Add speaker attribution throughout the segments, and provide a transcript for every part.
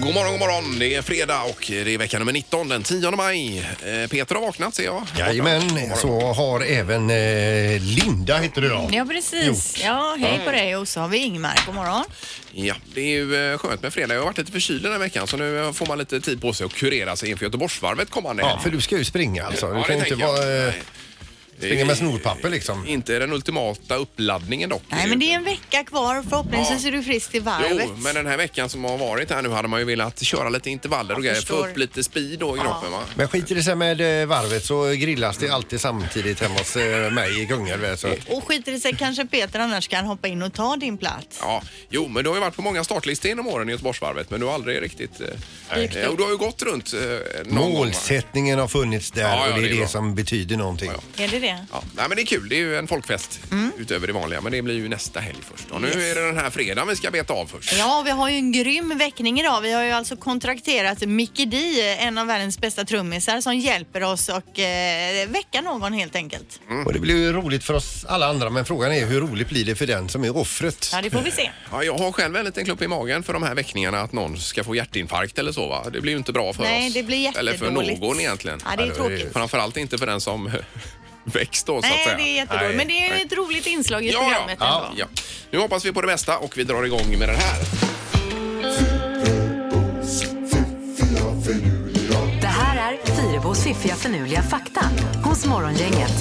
Speaker 1: morgon, det är fredag och det är vecka nummer 19, den 10 maj. Eh, Peter har vaknat ser jag.
Speaker 2: Jajamän, så har även eh, Linda heter det då.
Speaker 3: Ja, precis. Ja, hej på dig. Och så har vi Ingmar. God morgon.
Speaker 1: Ja, det är ju eh, skönt med fredag. Jag har varit lite förkyld den här veckan så nu får man lite tid på sig att kurera sig inför Göteborgsvarvet kommande
Speaker 2: Ja, för du ska ju springa alltså. Du kan ju inte vara, eh, springa med snorpapper liksom.
Speaker 1: Inte den ultimata uppladdningen dock.
Speaker 3: Nej, men det är en vecka kvar. Förhoppningsvis
Speaker 1: Ja.
Speaker 3: är du frisk till varvet.
Speaker 1: Jo, men den här veckan som har varit här nu hade man ju velat köra lite intervaller och grejer. Få
Speaker 3: förstår.
Speaker 1: upp lite speed då i kroppen va?
Speaker 2: Men skiter det sig med eh, varvet så grillas det alltid samtidigt hemma hos eh, mig i Kungälv.
Speaker 1: Mm.
Speaker 2: Så. att-
Speaker 3: Och skiter det sig kanske Peter annars kan hoppa in och ta din plats.
Speaker 1: Ja, jo, men du har ju varit på många startlistor genom åren i Göteborgsvarvet men du har aldrig riktigt... eh, Eh, och du har ju gått runt eh, någon gång, va?
Speaker 2: Målsättningen har funnits där
Speaker 1: Ja, ja,
Speaker 2: och det
Speaker 1: det
Speaker 2: är
Speaker 1: är
Speaker 2: det
Speaker 1: bra.
Speaker 2: som betyder någonting.
Speaker 3: Är det det?
Speaker 1: Ja, nej, men det är kul. Det är ju en folkfest
Speaker 3: Mm.
Speaker 1: utöver det vanliga. Men det blir ju nästa helg först. Och nu är det den här fredagen vi ska beta av först.
Speaker 3: Ja, vi har ju en grym väckning idag. Vi har ju alltså kontrakterat Mickey D, en av världens bästa trummisar, som hjälper oss och eh, väcka någon helt enkelt.
Speaker 1: Mm.
Speaker 2: Och det blir ju roligt för oss alla andra men frågan är hur roligt blir det för den som är offret?
Speaker 3: Ja, det får vi se.
Speaker 1: Ja, jag har själv en liten klump i magen för de här väckningarna att någon ska få hjärtinfarkt eller så va? Det blir ju inte bra för
Speaker 3: Nej,
Speaker 1: oss.
Speaker 3: det blir
Speaker 1: Eller
Speaker 3: jättedåligt.
Speaker 1: för någon egentligen.
Speaker 3: Ja,
Speaker 2: Ja, det
Speaker 3: det är
Speaker 2: är ju-
Speaker 3: tråkigt.
Speaker 1: Framförallt inte för den som väcks då så att
Speaker 3: Nej,
Speaker 1: säga.
Speaker 3: det är jättedåligt.
Speaker 2: Nej.
Speaker 3: Men det är ju ett roligt inslag i
Speaker 1: Ja, ja.
Speaker 3: programmet
Speaker 1: ja.
Speaker 3: ändå.
Speaker 1: ja. Nu hoppas vi på det bästa och vi drar igång med den här.
Speaker 4: Det här är Fyrabos fiffiga förnuliga fakta hos Morgongänget.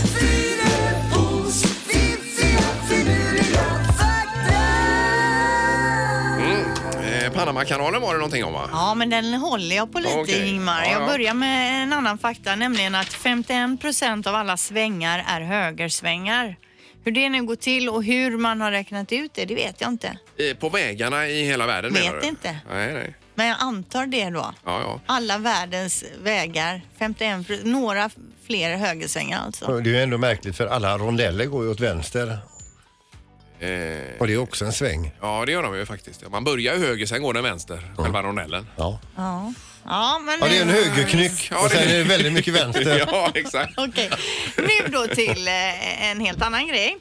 Speaker 1: Eh, Panamakanalen var det någonting om va?
Speaker 3: Ja, men den håller jag på lite
Speaker 1: Okej.
Speaker 3: Ingmar.
Speaker 1: Ja, ja.
Speaker 3: Jag börjar med en annan fakta, nämligen att 51 procent av alla svängar är högersvängar. Hur det nu går till och hur man har räknat ut det, det vet jag inte.
Speaker 1: Eh, På vägarna i hela världen
Speaker 3: Vet
Speaker 1: menar du?
Speaker 3: inte.
Speaker 1: Nej, nej.
Speaker 3: Men jag antar det då.
Speaker 1: Ja, ja.
Speaker 3: Alla världens vägar, 51 pro- några fler högersvängar alltså.
Speaker 2: Och Det är ju ändå märkligt för alla rondeller går ju åt vänster
Speaker 1: Eh,
Speaker 2: och det är också en sväng.
Speaker 1: Ja, det gör de ju faktiskt. Man börjar ju höger, sen går den vänster, själva rondellen.
Speaker 2: Ja,
Speaker 3: Ja, ja men...
Speaker 2: ja det är en högerknyck
Speaker 1: Ja,
Speaker 2: och
Speaker 1: det-
Speaker 2: sen är det väldigt mycket vänster.
Speaker 1: Ja, exakt.
Speaker 3: Okej, nu då till eh, en helt annan grej.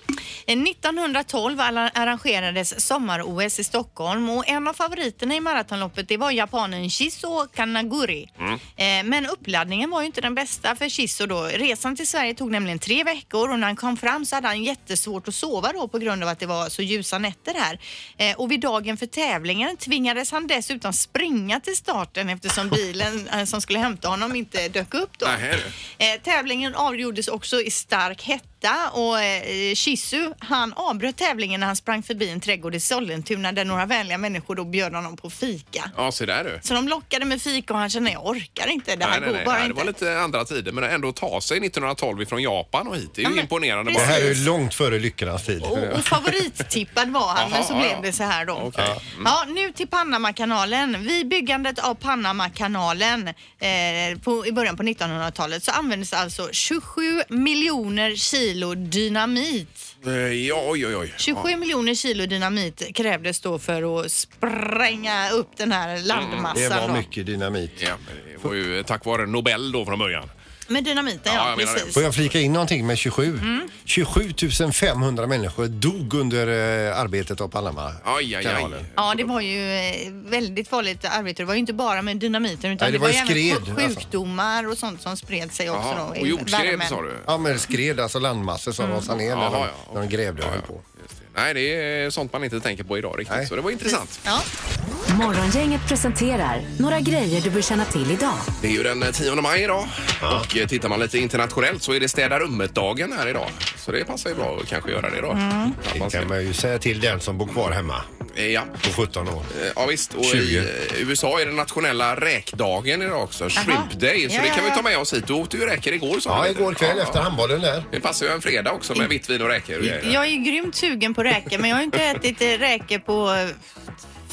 Speaker 3: Eh, 1912 alla- arrangerades sommar-OS i Stockholm och en av favoriterna i maratonloppet det var japanen Shizo Kanaguri.
Speaker 1: Mm.
Speaker 3: Eh, Men uppladdningen var ju inte den bästa för Shizo då. Resan till Sverige tog nämligen tre veckor och när han kom fram så hade han jättesvårt att sova då på grund av att det var så ljusa nätter här. Eh, Och vid dagen för tävlingen tvingades han dessutom springa till starten eftersom bilen eh, som skulle hämta honom inte dök upp då.
Speaker 1: Nähä, du.
Speaker 3: Eh, tävlingen avgjordes också i stark hetta och eh, Shizu han avbröt tävlingen när han sprang förbi en trädgård i Sollentuna där några vänliga människor då bjöd honom på fika.
Speaker 1: Ja, se där du.
Speaker 3: Så de lockade med fika och han kände jag orkar inte, det här
Speaker 1: Nej, nej,
Speaker 3: går
Speaker 1: nej,
Speaker 3: bara
Speaker 1: nej, det
Speaker 3: inte.
Speaker 1: var lite andra tider, men ändå ta sig 1912 från Japan och hit, det är ju
Speaker 3: Ja, men
Speaker 1: imponerande.
Speaker 2: Det
Speaker 1: Bara.
Speaker 3: precis.
Speaker 2: här är ju långt före lyckornas tid.
Speaker 1: Oh,
Speaker 3: Och, och favorittippad var han, men
Speaker 1: Jaha,
Speaker 3: så
Speaker 1: ja,
Speaker 3: blev
Speaker 1: ja.
Speaker 3: det så här då.
Speaker 1: Okej. Mm.
Speaker 3: Ja. Ja, nu till Panamakanalen. Vid byggandet av Panamakanalen eh, på, i början på 1900-talet så användes alltså 27 miljoner kilo dynamit.
Speaker 1: Eh, Ja, oj, oj, oj.
Speaker 3: 27 miljoner kilo dynamit krävdes då för att spränga upp den här
Speaker 2: Det
Speaker 3: landmassan.
Speaker 2: var
Speaker 3: då.
Speaker 2: mycket dynamit.
Speaker 1: Ja, men det var ju tack vare Nobel då från början.
Speaker 3: Med dynamiten,
Speaker 1: Ja,
Speaker 3: ja.
Speaker 1: jag menar
Speaker 3: precis.
Speaker 2: Får jag flika in någonting med 27?
Speaker 1: Mm.
Speaker 2: 27 500 människor dog under eh, arbetet av Panama.
Speaker 1: Aj, aj, aj.
Speaker 2: Kanalen.
Speaker 3: Ja, det var ju eh, väldigt farligt arbete. Det var ju inte bara med dynamiten utan
Speaker 2: Nej,
Speaker 3: det, var ju även
Speaker 2: skred,
Speaker 3: sj- sjukdomar och sånt som spred sig också.
Speaker 1: Jaha,
Speaker 3: då, i
Speaker 1: och jordskred
Speaker 3: värmen.
Speaker 1: sa du?
Speaker 2: Ja, men det skred alltså landmassor som rasade ner när,
Speaker 1: Mm. Jaha,
Speaker 2: de,
Speaker 1: ja,
Speaker 2: när de
Speaker 1: okej.
Speaker 2: grävde och
Speaker 1: Ja,
Speaker 2: höll
Speaker 1: ja.
Speaker 2: på.
Speaker 1: Just det. Nej, det är sånt man inte tänker på idag riktigt,
Speaker 2: Nej.
Speaker 1: så det var intressant.
Speaker 3: Ja.
Speaker 4: Morgongänget presenterar några grejer du bör känna till idag.
Speaker 1: Det är ju den 10 maj idag och eh, tittar man lite internationellt så är det städa rummet-dagen här idag. Så det passar ju bra att kanske göra det då.
Speaker 3: Mm.
Speaker 1: Att man
Speaker 2: Det
Speaker 1: ska-
Speaker 2: kan man ju säga till den som bor kvar hemma
Speaker 1: eh, Ja.
Speaker 2: på 17 år.
Speaker 1: Eh, Ja visst, och
Speaker 2: 20.
Speaker 1: i eh, USA är den nationella räkdagen idag också. Shrimp Day, så
Speaker 3: Ja,
Speaker 1: det kan
Speaker 3: ja,
Speaker 1: vi
Speaker 3: ja.
Speaker 1: ta med oss hit. Du åt ju räkor igår sa
Speaker 2: Ja,
Speaker 1: du.
Speaker 2: igår kväll
Speaker 1: Ja,
Speaker 2: efter
Speaker 1: ja.
Speaker 2: handbollen där.
Speaker 1: Det passar ju en fredag också med vitt vin och räkor och grejer.
Speaker 3: Jag är ju grymt sugen på räkor men jag har ju inte ätit eh, räkor på eh,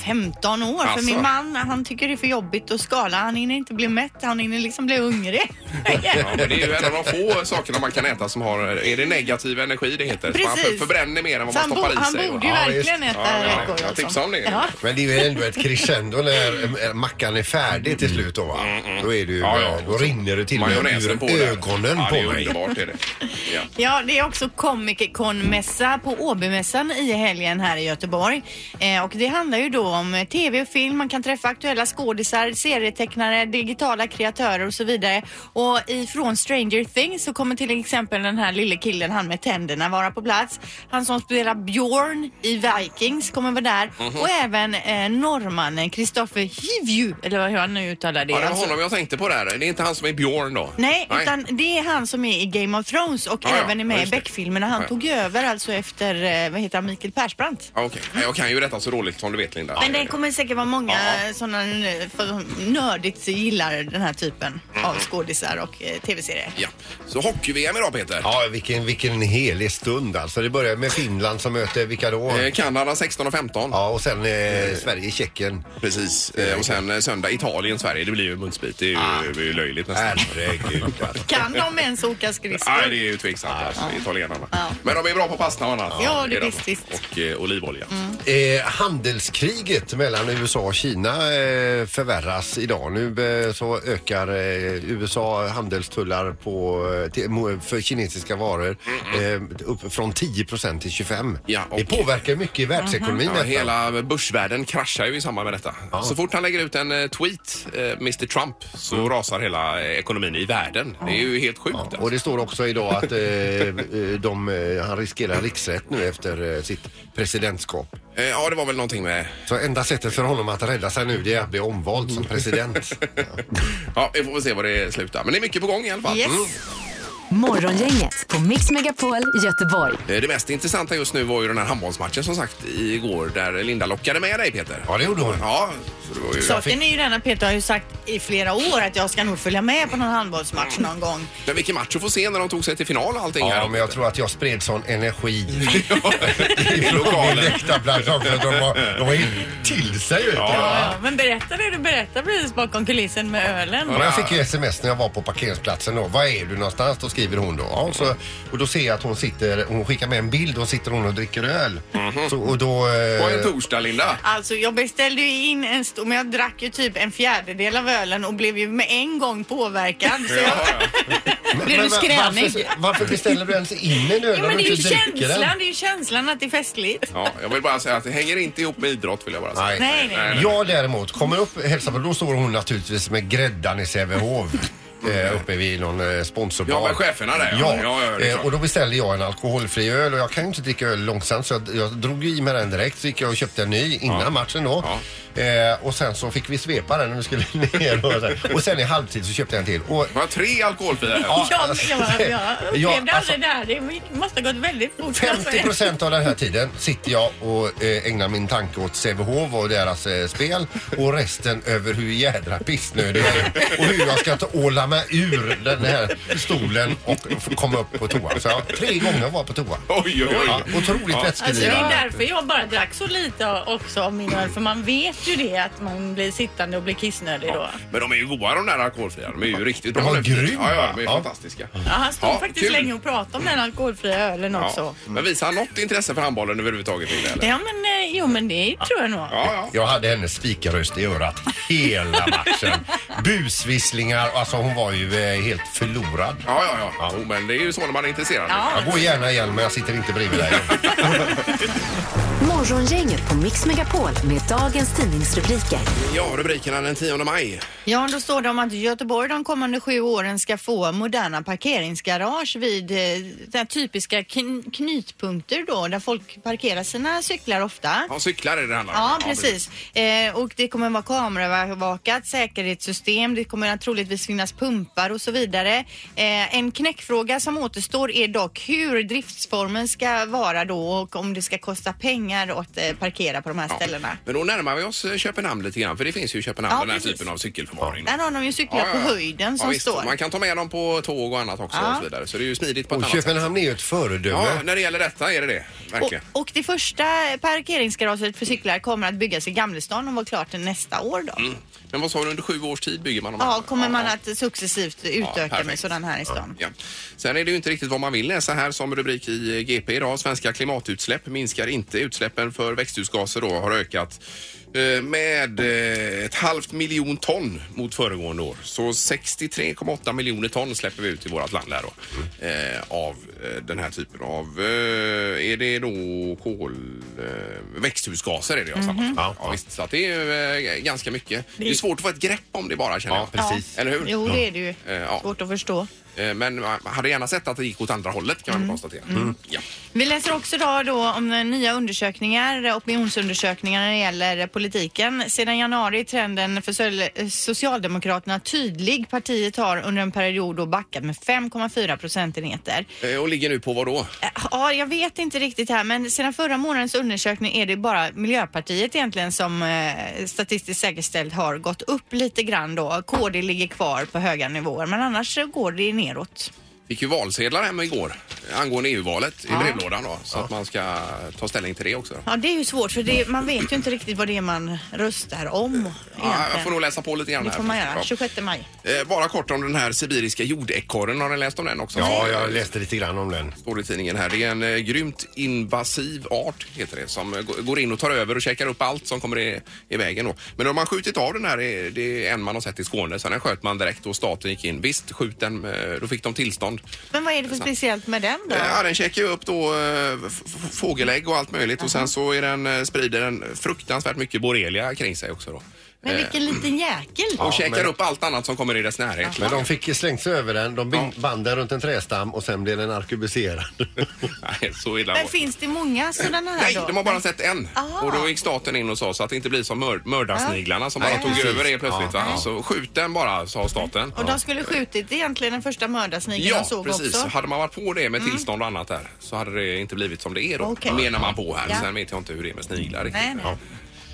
Speaker 3: 15 år
Speaker 1: Alltså.
Speaker 3: för min man han tycker det är för jobbigt att skala. Han hinner inte bli mätt, han hinner liksom bli hungrig.
Speaker 1: Ja, men det är ju en av de få sakerna man kan äta som har, eh, är det negativ energi det heter? Så Man för-
Speaker 3: Precis.
Speaker 1: förbränner mer än vad
Speaker 3: Så
Speaker 1: man
Speaker 3: han, bo,
Speaker 1: stoppar i
Speaker 3: han
Speaker 1: sig.
Speaker 3: borde ju
Speaker 1: Ja,
Speaker 3: verkligen
Speaker 2: visst.
Speaker 3: äta
Speaker 1: Ja, ja,
Speaker 3: räkor.
Speaker 1: jag
Speaker 3: alltså.
Speaker 1: tipsar om det.
Speaker 3: Ja.
Speaker 2: Men det är ju ändå ett crescendo när eh, mackan är färdig till slut då va? Då, är det ju,
Speaker 1: Mm, Ja, ja.
Speaker 2: då rinner det till och med
Speaker 1: Majonnäsen på
Speaker 2: ur
Speaker 1: där.
Speaker 2: ögonen
Speaker 1: ja,
Speaker 2: på
Speaker 1: det är
Speaker 2: mig.
Speaker 1: underbart är det. Ja.
Speaker 3: Ja, det är också Comic Con-mässa på Åbymässan i helgen här i Göteborg. Eh, och det handlar ju då om eh, tv och film, man kan träffa aktuella skådisar, serietecknare, digitala kreatörer och så vidare. Och ifrån Stranger Things så kommer till exempel den här lille killen, han med tänderna, vara på plats. Han som spelar Bjorn i Vikings kommer vara där.
Speaker 1: Mhm.
Speaker 3: Och även eh, norrmannen Kristoffer Hivju, eller hur han nu uttalar det.
Speaker 1: Ja, det var
Speaker 3: Alltså-
Speaker 1: honom jag tänkte på där. Det är inte han som är Björn då?
Speaker 3: Nej, utan det är han som är i Game of Thrones och
Speaker 1: Ja, ja.
Speaker 3: även är med
Speaker 1: Ja,
Speaker 3: i
Speaker 1: just det.
Speaker 3: Beck-filmerna. Han
Speaker 1: Ja.
Speaker 3: tog över alltså efter, eh, vad heter han, Mikael Persbrandt.
Speaker 1: Ja, Okej, Nej, jag kan ju detta så dåligt som du vet Linda.
Speaker 3: Men det kommer säkert vara många
Speaker 1: Ja.
Speaker 3: sådana eh, för- nördigt gillar den här typen
Speaker 1: Mm.
Speaker 3: av skådisar och eh, tv-serier.
Speaker 1: Ja. Så hockey-VM idag Peter.
Speaker 2: Ja, vilken, vilken helig stund alltså. Det börjar med Finland som möter vilka då?
Speaker 1: Eh, Kanada 16 och 15.
Speaker 2: Ja, och sen eh, Sverige, Tjeckien.
Speaker 1: Precis. Eh, och sen eh, söndag Italien, Sverige. Det blir ju munsbit. Det är ju,
Speaker 2: Ah.
Speaker 1: det är ju löjligt nästan.
Speaker 2: Herregud alltså.
Speaker 3: Kan de ens åka
Speaker 1: Nej,
Speaker 3: skridskor?
Speaker 1: det är ju
Speaker 2: Ah.
Speaker 1: tveksamt. Alltså, italienarna.
Speaker 3: Ja.
Speaker 1: Men de är bra på pasta och annat.
Speaker 3: Ja, det Mm.
Speaker 1: är de.
Speaker 3: visst, visst.
Speaker 1: Och eh, olivolja.
Speaker 2: Eh, handelskriget mellan USA och Kina eh, förvärras idag. Nu eh, så ökar eh, USA handelstullar på, eh, till, mo- för kinesiska varor eh, upp från 10 till 25.
Speaker 1: Ja,
Speaker 2: Det
Speaker 1: och-
Speaker 2: påverkar mycket i världsekonomin.
Speaker 1: Ja,
Speaker 2: detta.
Speaker 1: hela börsvärlden kraschar ju i samband med detta. Så fort han lägger ut en eh, tweet, eh, Mr Trump, så rasar hela eh, ekonomin i världen. Det är ju helt sjukt. alltså.
Speaker 2: Mm. Och det står också idag att eh, eh, de, eh, han riskerar riksrätt nu efter eh, sitt presidentskap.
Speaker 1: Eh, Ja, det var väl någonting med...
Speaker 2: Så enda sättet för honom att rädda sig nu det är att bli omvald som president.
Speaker 1: Ja, vi får väl se var det slutar. Men det är Mm. mycket på gång i alla fall.
Speaker 3: Yes.
Speaker 4: Morgongänget på Mix Megapol Göteborg.
Speaker 1: Eh, Det mest intressanta just nu var ju den här handbollsmatchen som sagt igår där Linda lockade med dig Peter.
Speaker 2: Ja, det gjorde hon.
Speaker 1: Ja, så det var ju...
Speaker 3: Saken är ju den att Peter har ju sagt i flera år att jag ska nog följa med på någon handbollsmatch någon gång.
Speaker 1: Men vilken match du får se när de tog sig till final och allting här.
Speaker 2: Ja, men jag tror att jag spred sån energi i
Speaker 1: lokalen.
Speaker 2: lokalen. Läktarplats också. De var, de var helt till sig. vet du.
Speaker 3: Ja, men berätta det du berättar precis bakom kulissen med ölen.
Speaker 2: Men jag fick ju sms när jag var på parkeringsplatsen. Då. Var är du någonstans? Då skriver hon då. Ja, så, och då ser jag att hon sitter, hon skickar med en bild. Då sitter hon och dricker öl. Så, och då... eh,
Speaker 1: På en torsdag Linda.
Speaker 3: Alltså jag beställde ju in en stor, men jag drack ju typ en fjärdedel av ölen och blev ju med en gång påverkad. Så jag, blev du
Speaker 2: Men va-
Speaker 3: skränig?
Speaker 2: varför, varför beställer du ens in en öl om
Speaker 3: Jo men det
Speaker 2: du
Speaker 3: är ju
Speaker 2: inte dricker den?
Speaker 3: känslan, det är ju känslan att det är festligt.
Speaker 1: Ja, jag vill bara säga att det hänger inte ihop med idrott vill jag bara säga.
Speaker 2: Nej.
Speaker 3: Nej, nej.
Speaker 2: Jag däremot kommer upp och hälsar på. Då står hon naturligtvis med gräddan i Sävehof. eh, Uppe vid någon eh, sponsorbar.
Speaker 1: Ja, med cheferna där, ja.
Speaker 2: Ja,
Speaker 1: Ja, ja, det är
Speaker 2: eh,
Speaker 1: klart.
Speaker 2: och då beställde jag en alkoholfri öl och jag kan ju inte dricka öl långsamt så jag, jag drog i mig den direkt. Så gick jag och köpte en ny innan matchen då. Eh, och sen så fick vi svepa den när vi skulle ner. Och, så. och sen i halvtid så köpte jag en till. Och,
Speaker 1: Det var tre alkoholfria.
Speaker 2: Ja,
Speaker 3: Jag,
Speaker 2: alltså,
Speaker 3: jag, jag, jag upplevde
Speaker 2: ja,
Speaker 3: aldrig
Speaker 2: alltså-
Speaker 3: det här. Det gick- måste ha gått väldigt fort.
Speaker 2: 50 procent av den här tiden sitter jag och eh, ägnar min tanke åt Sävehof och deras eh, spel och resten över hur jädra pissnödig jag är och hur jag ska ta åla mig ur den här stolen och f- komma upp på toa. Så jag, tre gånger var på toa.
Speaker 1: Oj, oj,
Speaker 2: Ja,
Speaker 1: oj.
Speaker 2: otroligt
Speaker 3: Alltså, det
Speaker 2: vätskelivad.
Speaker 3: är därför jag bara drack så lite också av min öl. För man vet ju det att man blir sittande och blir kissnödig då.
Speaker 1: Men de är ju goda de där alkoholfria. De är ju riktigt
Speaker 2: De
Speaker 1: bra.
Speaker 2: var
Speaker 1: nu för tiden.
Speaker 2: grymma.
Speaker 1: Ja, ja, de är
Speaker 2: Ja.
Speaker 1: fantastiska.
Speaker 3: Ja, han stod
Speaker 1: Ja,
Speaker 3: faktiskt
Speaker 1: kul.
Speaker 3: länge och pratade om den alkoholfria ölen
Speaker 1: Ja.
Speaker 3: också. Mm.
Speaker 1: Men visar han något intresse för handbollen överhuvudtaget Linda? Eller?
Speaker 3: Ja men eh, jo men det tror jag nog.
Speaker 1: Ja, ja.
Speaker 2: Jag hade hennes spikarröst i örat hela matchen. Busvisslingar, alltså hon var ju eh, helt förlorad.
Speaker 1: Ja, ja, ja. Jo, men det är ju så när man är intresserad.
Speaker 3: Ja.
Speaker 2: Jag går gärna igen men jag sitter inte bredvid dig.
Speaker 4: Morgongänget på Mix Megapol med dagens tidningsrubriker.
Speaker 1: Ja, rubrikerna den 10 maj.
Speaker 3: Ja, då står det om att Göteborg de kommande sju åren ska få moderna parkeringsgarage vid eh, där typiska kn- knytpunkter då, där folk parkerar sina cyklar ofta.
Speaker 1: Ja, cyklar är det det handlar om.
Speaker 3: Ja, precis. Eh, och det kommer vara kameraövervakat, säkerhetssystem, det kommer att troligtvis finnas pumpar och så vidare. Eh, en knäckfråga som återstår är dock hur driftsformen ska vara då och om det ska kosta pengar att eh, parkera på de här ställena.
Speaker 1: Men då närmar vi oss eh, Köpenhamn lite grann, för det finns ju i Köpenhamn
Speaker 3: Ja,
Speaker 1: den här
Speaker 3: precis.
Speaker 1: typen av cykelförvaring.
Speaker 3: Där har de ju cyklar på höjden som
Speaker 1: Ja, visst.
Speaker 3: står.
Speaker 1: Man kan ta med dem på tåg och annat också
Speaker 3: Ja.
Speaker 1: och så vidare. Så det är ju smidigt på ett
Speaker 2: Och
Speaker 1: annat sätt.
Speaker 2: Köpenhamn är ju ett föredöme.
Speaker 1: Ja, när det gäller detta är det det.
Speaker 3: Och,
Speaker 1: Verkligen.
Speaker 3: och det första parkeringsgaraget för cyklar kommer att byggas i Gamlestan och vara klart till nästa år då.
Speaker 1: Mm. Men vad sa du, under sju års tid bygger man dem?
Speaker 3: Ja, kommer man
Speaker 1: ja.
Speaker 3: att successivt
Speaker 1: Ja,
Speaker 3: utöka
Speaker 1: perfekt.
Speaker 3: med sådana här i stan.
Speaker 1: Ja. Sen är det ju inte riktigt vad man vill läsa här som rubrik i eh, GP idag. Svenska klimatutsläpp minskar inte. Utsläppen för växthusgaser då har ökat eh, med eh, ett halvt miljon ton mot föregående år. Så 63,8 miljoner ton släpper vi ut i vårt land här då. Eh, av eh, den här typen av, eh, är det då kol, eh, växthusgaser är det jag
Speaker 3: Mhm.
Speaker 1: mm
Speaker 2: Ja,
Speaker 1: ja, visst. Så att det är ju eh, ganska mycket. Det är svårt att få ett grepp om det bara känner
Speaker 2: Ja,
Speaker 1: jag.
Speaker 2: precis.
Speaker 1: Eller hur?
Speaker 3: Jo, det är det ju.
Speaker 1: Eh, ja.
Speaker 3: Svårt att förstå.
Speaker 1: Eh, Men man hade gärna sett att det gick åt andra hållet kan
Speaker 3: Mm.
Speaker 1: man konstatera. Mm. Ja.
Speaker 3: Vi läser också idag då om eh, nya undersökningar, opinionsundersökningar när det gäller eh, politiken. Sedan januari är trenden för Sol- eh, Socialdemokraterna tydlig. Partiet har under en period då backat med 5,4 procentenheter.
Speaker 1: Eh, Och ligger nu på vad då?
Speaker 3: Eh, Ja, jag vet inte riktigt här, men sedan förra månadens undersökning är det bara Miljöpartiet egentligen som eh, statistiskt säkerställt har gått upp lite grann då. KD ligger kvar på höga nivåer, men annars så går det neråt.
Speaker 1: Fick ju valsedlar hem igår eh, angående EU-valet i brevlådan då. Så att man ska ta ställning till det också. Då.
Speaker 3: Ja, det är ju svårt för det, man vet ju inte riktigt vad det är man röstar om
Speaker 1: Ja, jag
Speaker 3: egentligen.
Speaker 1: får nog läsa på lite grann
Speaker 3: det
Speaker 1: här.
Speaker 3: får man göra.
Speaker 1: Ja.
Speaker 3: 26 maj.
Speaker 1: Eh, Bara kort om den här sibiriska jordekorren. Har ni läst om den också?
Speaker 2: Ja, jag läste lite grann om den.
Speaker 1: står det i tidningen här. Det är en eh, grymt invasiv art heter det som eh, gå- går in och tar över och käkar upp allt som kommer i, i vägen. Då. Men de har skjutit av den här, eh, det är en man har sett i Skåne, sen den sköt man direkt och staten gick in. Visst, skjut den, eh, då fick de tillstånd. Eh,
Speaker 3: Men vad är det för speciellt med den då?
Speaker 1: Ja, den käkar ju upp då eh, f- f- fågelägg och allt möjligt och sen så är den, eh, sprider den fruktansvärt mycket borrelia kring sig också då.
Speaker 3: Men vilken
Speaker 1: eh,
Speaker 3: liten jäkel.
Speaker 1: Och käkar
Speaker 2: men-
Speaker 1: upp allt annat som kommer i dess närhet.
Speaker 2: Men de fick slängt sig över den, de bin- band den runt en trästam och sen blev den arkebuserad.
Speaker 1: Nej, så illa
Speaker 3: Men
Speaker 1: var-
Speaker 3: finns det många sådana här
Speaker 1: Nej,
Speaker 3: då?
Speaker 1: de har bara sett en.
Speaker 3: Aha.
Speaker 1: Och då gick staten in och sa så att det inte blir som mör mördarsniglarna som bara
Speaker 2: Nej,
Speaker 1: tog
Speaker 2: precis.
Speaker 1: över er plötsligt.
Speaker 2: Ja.
Speaker 1: Va? Så skjut den bara, sa staten.
Speaker 3: Och de skulle skjutit egentligen den första mördarsnigeln
Speaker 1: Ja,
Speaker 3: de såg
Speaker 1: precis.
Speaker 3: också? Mm.
Speaker 1: Hade man varit på det med tillstånd och annat där så hade det inte blivit som det är då.
Speaker 3: Okej.
Speaker 1: Menar man på här.
Speaker 3: Ja.
Speaker 1: Sen vet jag inte hur det är med sniglar riktigt.
Speaker 3: Nej, nej.
Speaker 1: Ja.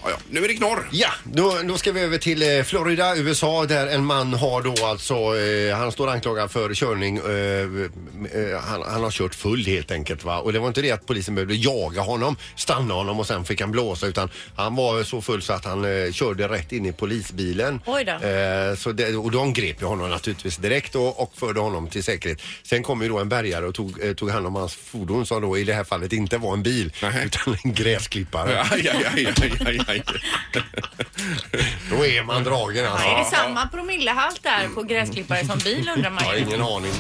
Speaker 1: Ja, ja. Nu är det knorr.
Speaker 2: Ja, då, då ska vi över till eh, Florida, USA där en man har då alltså, eh, han står anklagad för körning, eh, eh, han, han har kört full helt enkelt va. Och det var inte det att polisen behövde jaga honom, stanna honom och sen fick han blåsa utan han var så full så att han eh, körde rätt in i polisbilen.
Speaker 3: Oj då.
Speaker 2: Eh, så det, och de grep ju honom naturligtvis direkt och, och förde honom till säkerhet. Sen kom ju då en bärgare och tog, eh, tog hand om hans fordon som då i det här fallet inte var en bil
Speaker 1: Nej.
Speaker 2: utan en gräsklippare.
Speaker 1: Aj, aj, aj, aj, aj, aj.
Speaker 2: Då är man dragen alltså.
Speaker 3: Är det samma promillehalt där
Speaker 1: Mm.
Speaker 3: på gräsklippare som bil undrar man
Speaker 2: Jag har
Speaker 3: ju.
Speaker 2: ingen aning.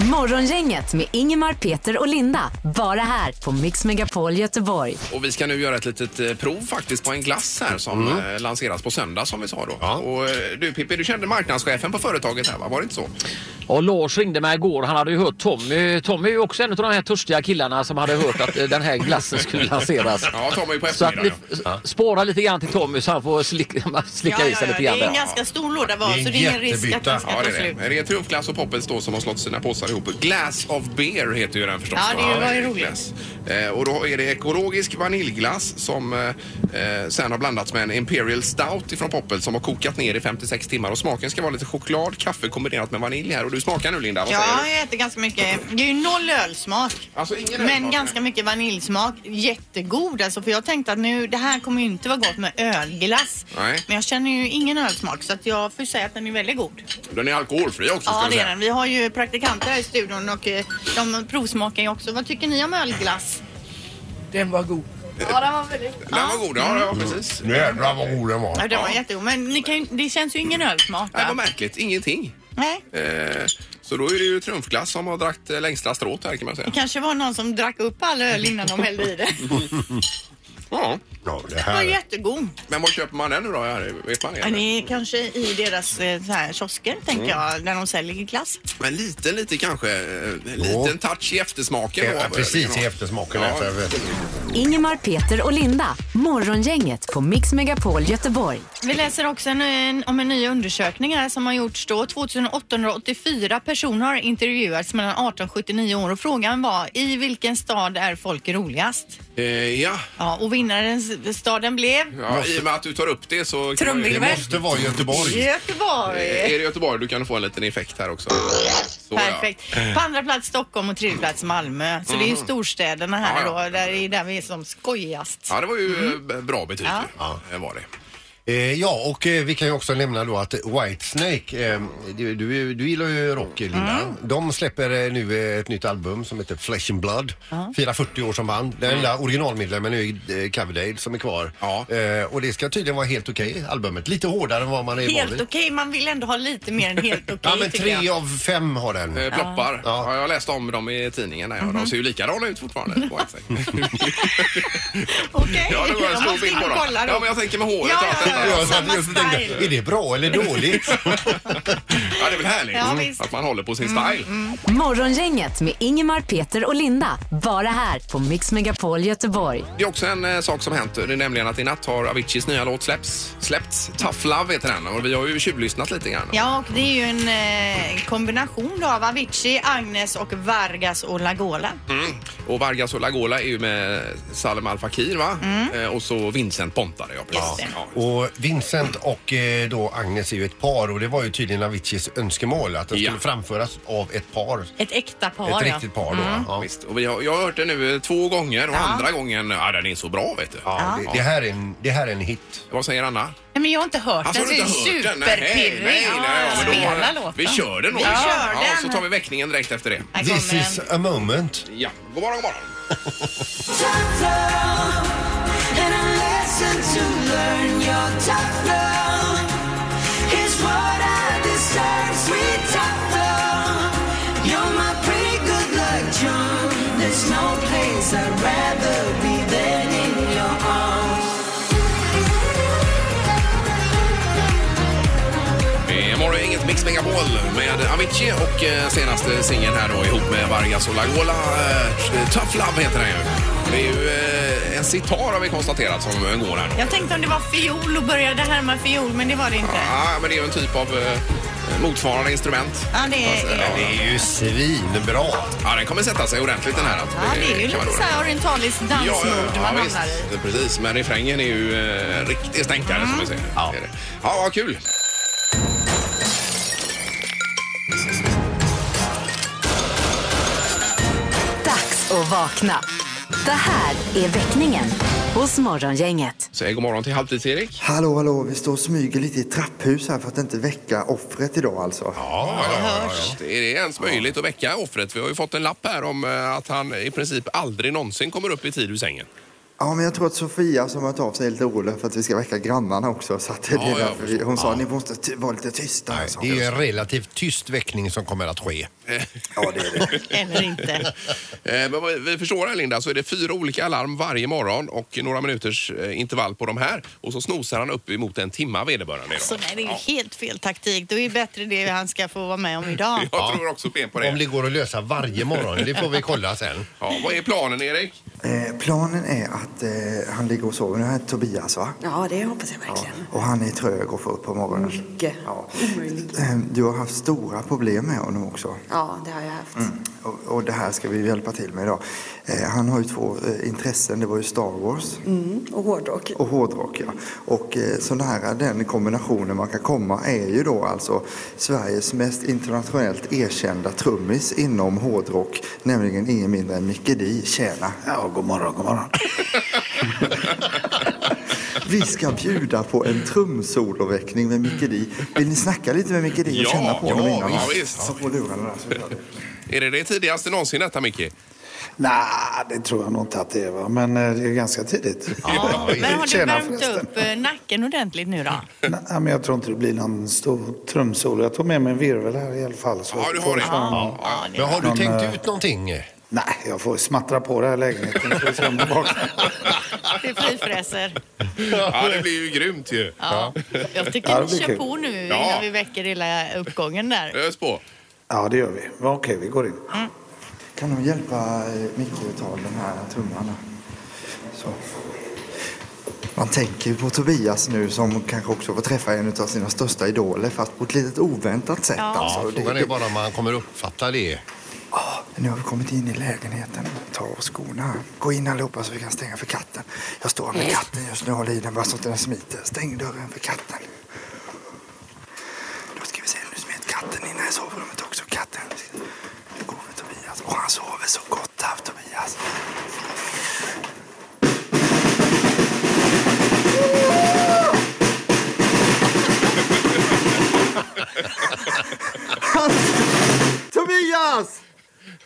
Speaker 4: Morgongänget med Ingemar, Peter och Linda. Bara här på Mix Megapol Göteborg.
Speaker 1: Och vi ska nu göra ett litet eh, prov faktiskt på en glass här som
Speaker 5: Mm.
Speaker 1: eh, lanseras på söndag som vi sa då.
Speaker 2: Ja.
Speaker 1: Och eh, du Pippi, du kände marknadschefen på företaget här va? Var det inte så?
Speaker 5: Och Lars ringde mig igår. Han hade ju hört Tommy. Tommy är ju också en av de här törstiga killarna som hade hört att eh, den här glassen skulle lanseras.
Speaker 1: Ja, Tommy är på
Speaker 5: Så att ni
Speaker 1: eftermiddagen. ja.
Speaker 5: s- spara lite grann till Tommy så han får slicka, slicka i sig lite
Speaker 3: det
Speaker 5: grann.
Speaker 3: är en
Speaker 5: där.
Speaker 3: ganska stor låda var
Speaker 2: Det är en
Speaker 3: så det är ingen risk att
Speaker 2: jättebytta.
Speaker 3: den ska
Speaker 1: Ja,
Speaker 3: ta
Speaker 1: det är det.
Speaker 3: slut.
Speaker 1: Men Det är Triumfglass och Poppels då som har slått sina påsar ihop. Glass of beer heter ju den förstås.
Speaker 3: Ja, det var ju roligt.
Speaker 1: Glass. Eh, Och då är det ekologisk vaniljglass som eh, eh, sen har blandats med en Imperial Stout ifrån Poppel som har kokat ner i 56 timmar. Och smaken ska vara lite choklad, kaffe kombinerat med vanilj här. Och du smakar nu Linda, vad säger
Speaker 3: Ja,
Speaker 1: du?
Speaker 3: jag äter ganska mycket. Det är ju noll ölsmak.
Speaker 1: Alltså ingen
Speaker 3: Men
Speaker 1: ölsmak,
Speaker 3: ganska
Speaker 1: nej.
Speaker 3: mycket vaniljsmak. Jättegod alltså. För jag tänkte att nu, det här kommer ju inte vara gott med ölglass.
Speaker 1: Nej.
Speaker 3: Men jag känner ju ingen ölsmak så att jag får säga att den är väldigt god.
Speaker 1: Den är alkoholfri också
Speaker 3: Ja,
Speaker 1: ska vi
Speaker 3: det är
Speaker 1: säga.
Speaker 3: den. Vi har ju praktikanter här i studion och eh, de provsmakar ju också. Vad tycker ni om ölglass?
Speaker 6: Den var god.
Speaker 3: Ja, den var väldigt god.
Speaker 1: Den var god, ja,
Speaker 3: Mm.
Speaker 1: ja precis.
Speaker 2: Jädrar vad god den var.
Speaker 3: Ja, den var jättegod. Men ni kan, ju- det känns ju ingen ölsmak.
Speaker 1: Nej,
Speaker 3: va?
Speaker 1: vad märkligt. Ingenting.
Speaker 3: Nej.
Speaker 1: Eh, Så då är det ju Triumfglass som har dragit eh, längsta strået här kan man säga.
Speaker 3: Det kanske var någon som drack upp all öl innan de hällde i det.
Speaker 1: Ja.
Speaker 2: Ja, det
Speaker 3: Den var
Speaker 2: här.
Speaker 3: jättegod.
Speaker 1: Men var köper man den nu då? Harry? Vet man det?
Speaker 3: Ja, det är kanske i deras eh, så här, kiosker, tänker jag, när de säljer glass.
Speaker 1: Men lite, lite kanske. eh, Liten touch i eftersmaken. då,
Speaker 2: Ja,
Speaker 1: vad det
Speaker 2: precis
Speaker 1: kan
Speaker 2: i
Speaker 1: vara.
Speaker 2: eftersmaken.
Speaker 1: Ja.
Speaker 2: Alltså, jag vet.
Speaker 4: Ingemar, Peter och Linda. Morgongänget på Mix Megapol Göteborg.
Speaker 3: Vi läser också en, en, om en ny undersökning här som har gjorts då. 2884 personer har intervjuats mellan 18 och 79 år och frågan var i vilken stad är folk roligast?
Speaker 1: Eh, ja.
Speaker 3: Ja, och vinnaren staden blev
Speaker 1: ja, i och med att du tar upp det så...
Speaker 2: Det
Speaker 3: Trumvirvel.
Speaker 2: måste vara Göteborg.
Speaker 3: Göteborg.
Speaker 1: Eh, Är det Göteborg du kan få en liten effekt här också. Så, ja.
Speaker 3: Perfekt. På andra plats Stockholm och tredje plats Malmö. Så det är ju storstäderna här
Speaker 1: Mhm. Ja, ja.
Speaker 3: då. Där är där vi är som skojigast.
Speaker 1: Ja, det var ju eh, b- bra betyg.
Speaker 3: Mm. Ja.
Speaker 1: Ja. det Var det.
Speaker 2: Eh, ja, och eh, vi kan ju också nämna då att Whitesnake, eh, du, du, du gillar ju rock Linda.
Speaker 3: Mm.
Speaker 2: De släpper eh, nu eh, ett nytt album som heter Flesh and Blood. Firar 40 år som band. Den enda originalmedlemmen är ju, eh, Cavadale som är kvar.
Speaker 1: Ja.
Speaker 2: Eh, och det ska tydligen vara helt okej albumet. Lite hårdare än vad man är van
Speaker 3: Helt
Speaker 2: vid.
Speaker 3: okej, man vill ändå ha lite mer än helt okej
Speaker 2: Ja men
Speaker 3: tycker
Speaker 2: tre
Speaker 3: jag.
Speaker 2: av fem har den.
Speaker 1: Eh, Ploppar.
Speaker 2: Ja.
Speaker 1: Ja. jag läste om dem i tidningen. Där. ja.
Speaker 3: Mhm.
Speaker 1: De ser ju likadana ut fortfarande. Whitesnake.
Speaker 3: Okej,
Speaker 1: ja, det var en
Speaker 3: jag
Speaker 1: stor
Speaker 3: måste
Speaker 1: bild
Speaker 3: in
Speaker 1: på
Speaker 3: och
Speaker 1: dem.
Speaker 3: kolla då.
Speaker 1: Ja, men jag tänker med håret
Speaker 3: Ja,
Speaker 1: och allt
Speaker 3: ja,
Speaker 1: detta.
Speaker 3: ja.
Speaker 2: Jag satt just och tänkte,
Speaker 3: style.
Speaker 2: är det bra eller dåligt?
Speaker 1: Ja, det är väl härligt
Speaker 3: Ja,
Speaker 1: mm.
Speaker 3: visst.
Speaker 1: att man håller på sin style.
Speaker 4: Morgongänget med Ingemar, Peter och Linda. Bara här på Mix Megapol Göteborg.
Speaker 1: Det är också en eh, sak som hänt. Det är nämligen att i natt har Aviciis nya låt släppts. släppts. Tough Love heter den och vi har ju tjuvlyssnat lite grann.
Speaker 3: Ja, och det är ju en eh, kombination då av Avicii, Agnes och Vargas och Lagola.
Speaker 1: Mm. Och Vargas och Lagola är ju med Salem Al Fakir va? Eh, och så Vincent Pontare. Ja,
Speaker 3: Mm. Just
Speaker 1: precis.
Speaker 3: det.
Speaker 1: Ja.
Speaker 2: Och Vincent och eh, då Agnes är ju ett par och det var ju tydligen Aviciis önskemål att den
Speaker 1: Ja.
Speaker 2: skulle framföras av ett par.
Speaker 3: Ett äkta par.
Speaker 2: ett
Speaker 3: ja. Mm.
Speaker 2: riktigt par då. Ja.
Speaker 1: Visst. Och vi har, jag har hört den nu eh, två gånger och andra gången, ja den är så bra vet du.
Speaker 2: Ja, det, det, här är en, det här är en hit.
Speaker 1: Vad säger Anna?
Speaker 3: Nej, men jag har inte hört
Speaker 1: Alltså,
Speaker 3: den.
Speaker 1: har du
Speaker 3: Det är
Speaker 1: inte hört den?
Speaker 3: superpirrig.
Speaker 1: ja, men då-
Speaker 3: Spela låten.
Speaker 1: Vi kör den då.
Speaker 3: Vi kör
Speaker 1: ja,
Speaker 3: den.
Speaker 1: Så tar vi väckningen direkt efter det.
Speaker 3: Här
Speaker 2: This
Speaker 3: kommer
Speaker 2: is
Speaker 3: den.
Speaker 2: a moment.
Speaker 1: Ja, god morgon, god morgon. Det är morgon, inget Mix Megapol med Avicii och eh, senaste singeln här då ihop med Vargas och Lagola. Eh, Tough Love heter den ju. Det är ju eh, en sitar har vi konstaterat som eh, går här.
Speaker 3: Jag tänkte om det var fiol och började härma fiol, men det var det inte.
Speaker 1: Ja, men det är ju en typ av eh, motsvarande instrument.
Speaker 3: Ja, det
Speaker 1: Alltså,
Speaker 3: är...
Speaker 1: ja,
Speaker 2: Det är ju svinbra.
Speaker 1: Ja, den kommer sätta sig ordentligt den här. alltså.
Speaker 3: Ja, det är ju
Speaker 1: kan man
Speaker 3: lite
Speaker 1: då-
Speaker 3: så här orientaliskt dansmode man hamnar i.
Speaker 1: visst. Precis, men refrängen är ju eh, riktig stänkare som
Speaker 3: Mm.
Speaker 1: vi säger. Ja. Det är det. ja, vad kul!
Speaker 4: Dags att vakna. Det här är väckningen hos Morgongänget.
Speaker 1: Säg god morgon till Halvtids-Erik.
Speaker 7: Hallå, hallå, vi står och smyger lite i trapphus här för att inte väcka offret idag alltså.
Speaker 1: Ja, ja, ja, ja. Är det ens möjligt att väcka offret? Vi har ju fått en lapp här om eh, att han i princip aldrig någonsin kommer upp i tid ur sängen.
Speaker 7: Ja, men jag tror att Sofia som har tagit av sig är lite orolig för att vi ska väcka grannarna också. Så att det
Speaker 1: Ja,
Speaker 7: är
Speaker 1: ja,
Speaker 7: därför vi, hon sa ni måste ty- vara lite tysta. sa
Speaker 2: Det är
Speaker 7: hon.
Speaker 2: ju en relativt tyst väckning som kommer att ske.
Speaker 7: Ja, det är det.
Speaker 3: Eller inte.
Speaker 1: Eh, Men vad vi förstår här Linda, så är det fyra olika alarm varje morgon och några minuters eh, intervall på de här. Och så snosar han upp emot en timma vederbörande idag.
Speaker 3: Så nej, det är ju helt fel taktik. Då är det bättre det han ska få vara med om idag.
Speaker 1: Jag tror också ben på
Speaker 2: Om
Speaker 1: det.
Speaker 2: det går att lösa varje morgon, det får vi kolla sen.
Speaker 1: Ja, vad är planen Erik?
Speaker 7: Eh, planen är att eh, han ligger och sover. Nu är det Tobias va?
Speaker 8: Ja, det hoppas jag verkligen.
Speaker 7: Och han är trög att få upp på morgonen.
Speaker 8: Mycket.
Speaker 7: Ja.
Speaker 8: Omöjligt.
Speaker 7: Eh, Du har haft stora problem med honom också.
Speaker 8: Ja, det har jag haft.
Speaker 7: Och, och det här ska vi hjälpa till med idag. Eh, han har ju två eh, intressen. Det var ju Star Wars.
Speaker 8: Mm. Och hårdrock.
Speaker 7: Och hårdrock ja. Och eh, så nära den kombinationen man kan komma är ju då alltså Sveriges mest internationellt erkända trummis inom hårdrock, nämligen ingen mindre än Micke Di. Tjena! Ja, god morgon, god morgon. Vi ska bjuda på en trumsoloväckning med Micke Di. Vill ni snacka lite med Micke Di och
Speaker 1: Ja,
Speaker 7: känna på
Speaker 1: ja,
Speaker 7: honom innan?
Speaker 1: ja, visst.
Speaker 7: Så får lurarna där så gör vi.
Speaker 1: Är det det tidigaste någonsin detta Micke?
Speaker 9: Nej, det tror jag nog inte att det är. Va? Men eh, det är ganska tidigt.
Speaker 3: Ja, men har du
Speaker 9: Tjena,
Speaker 3: värmt
Speaker 9: förresten.
Speaker 3: upp eh, nacken ordentligt nu då?
Speaker 9: Nej, men jag tror inte det blir någon stor trumsolo. Jag tog med mig en virvel här i alla fall. Så
Speaker 1: Ja, du har
Speaker 9: får
Speaker 1: det.
Speaker 9: jag köra någon-
Speaker 3: Ja, det
Speaker 2: Men har du tänkt ut någonting?
Speaker 9: Nej, jag får smattra på det här i lägenheten. så vi ser om det vaknar.
Speaker 3: det är frifräser.
Speaker 1: Ja, det blir ju grymt ju.
Speaker 3: Ja. Jag
Speaker 9: Ja,
Speaker 3: tycker
Speaker 9: det
Speaker 3: vi
Speaker 9: blir
Speaker 3: kör
Speaker 9: kul.
Speaker 3: på nu
Speaker 1: Ja.
Speaker 3: innan vi väcker hela uppgången där.
Speaker 1: Ös på.
Speaker 9: ja, det gör vi. Va, Okej, vi går in.
Speaker 7: Kan de hjälpa eh, Micke att ta den här trumman? Så. Man tänker ju på Tobias nu som kanske också får träffa en av sina största idoler fast på ett litet oväntat sätt.
Speaker 3: Ja.
Speaker 7: Alltså. Det,
Speaker 2: Frågan är
Speaker 7: det,
Speaker 2: bara om man kommer uppfatta det.
Speaker 7: Ah, nu har vi kommit in i lägenheten. Ta av skorna. här. Gå in allihopa så vi kan stänga för katten. Jag står med katten just nu och håller i den bara så att den smiter. Stäng dörren för katten. Då ska vi se, nu smet katten in här i sovrummet också. Katten. Nu går vi Tobias. Och han sover så gott här Tobias.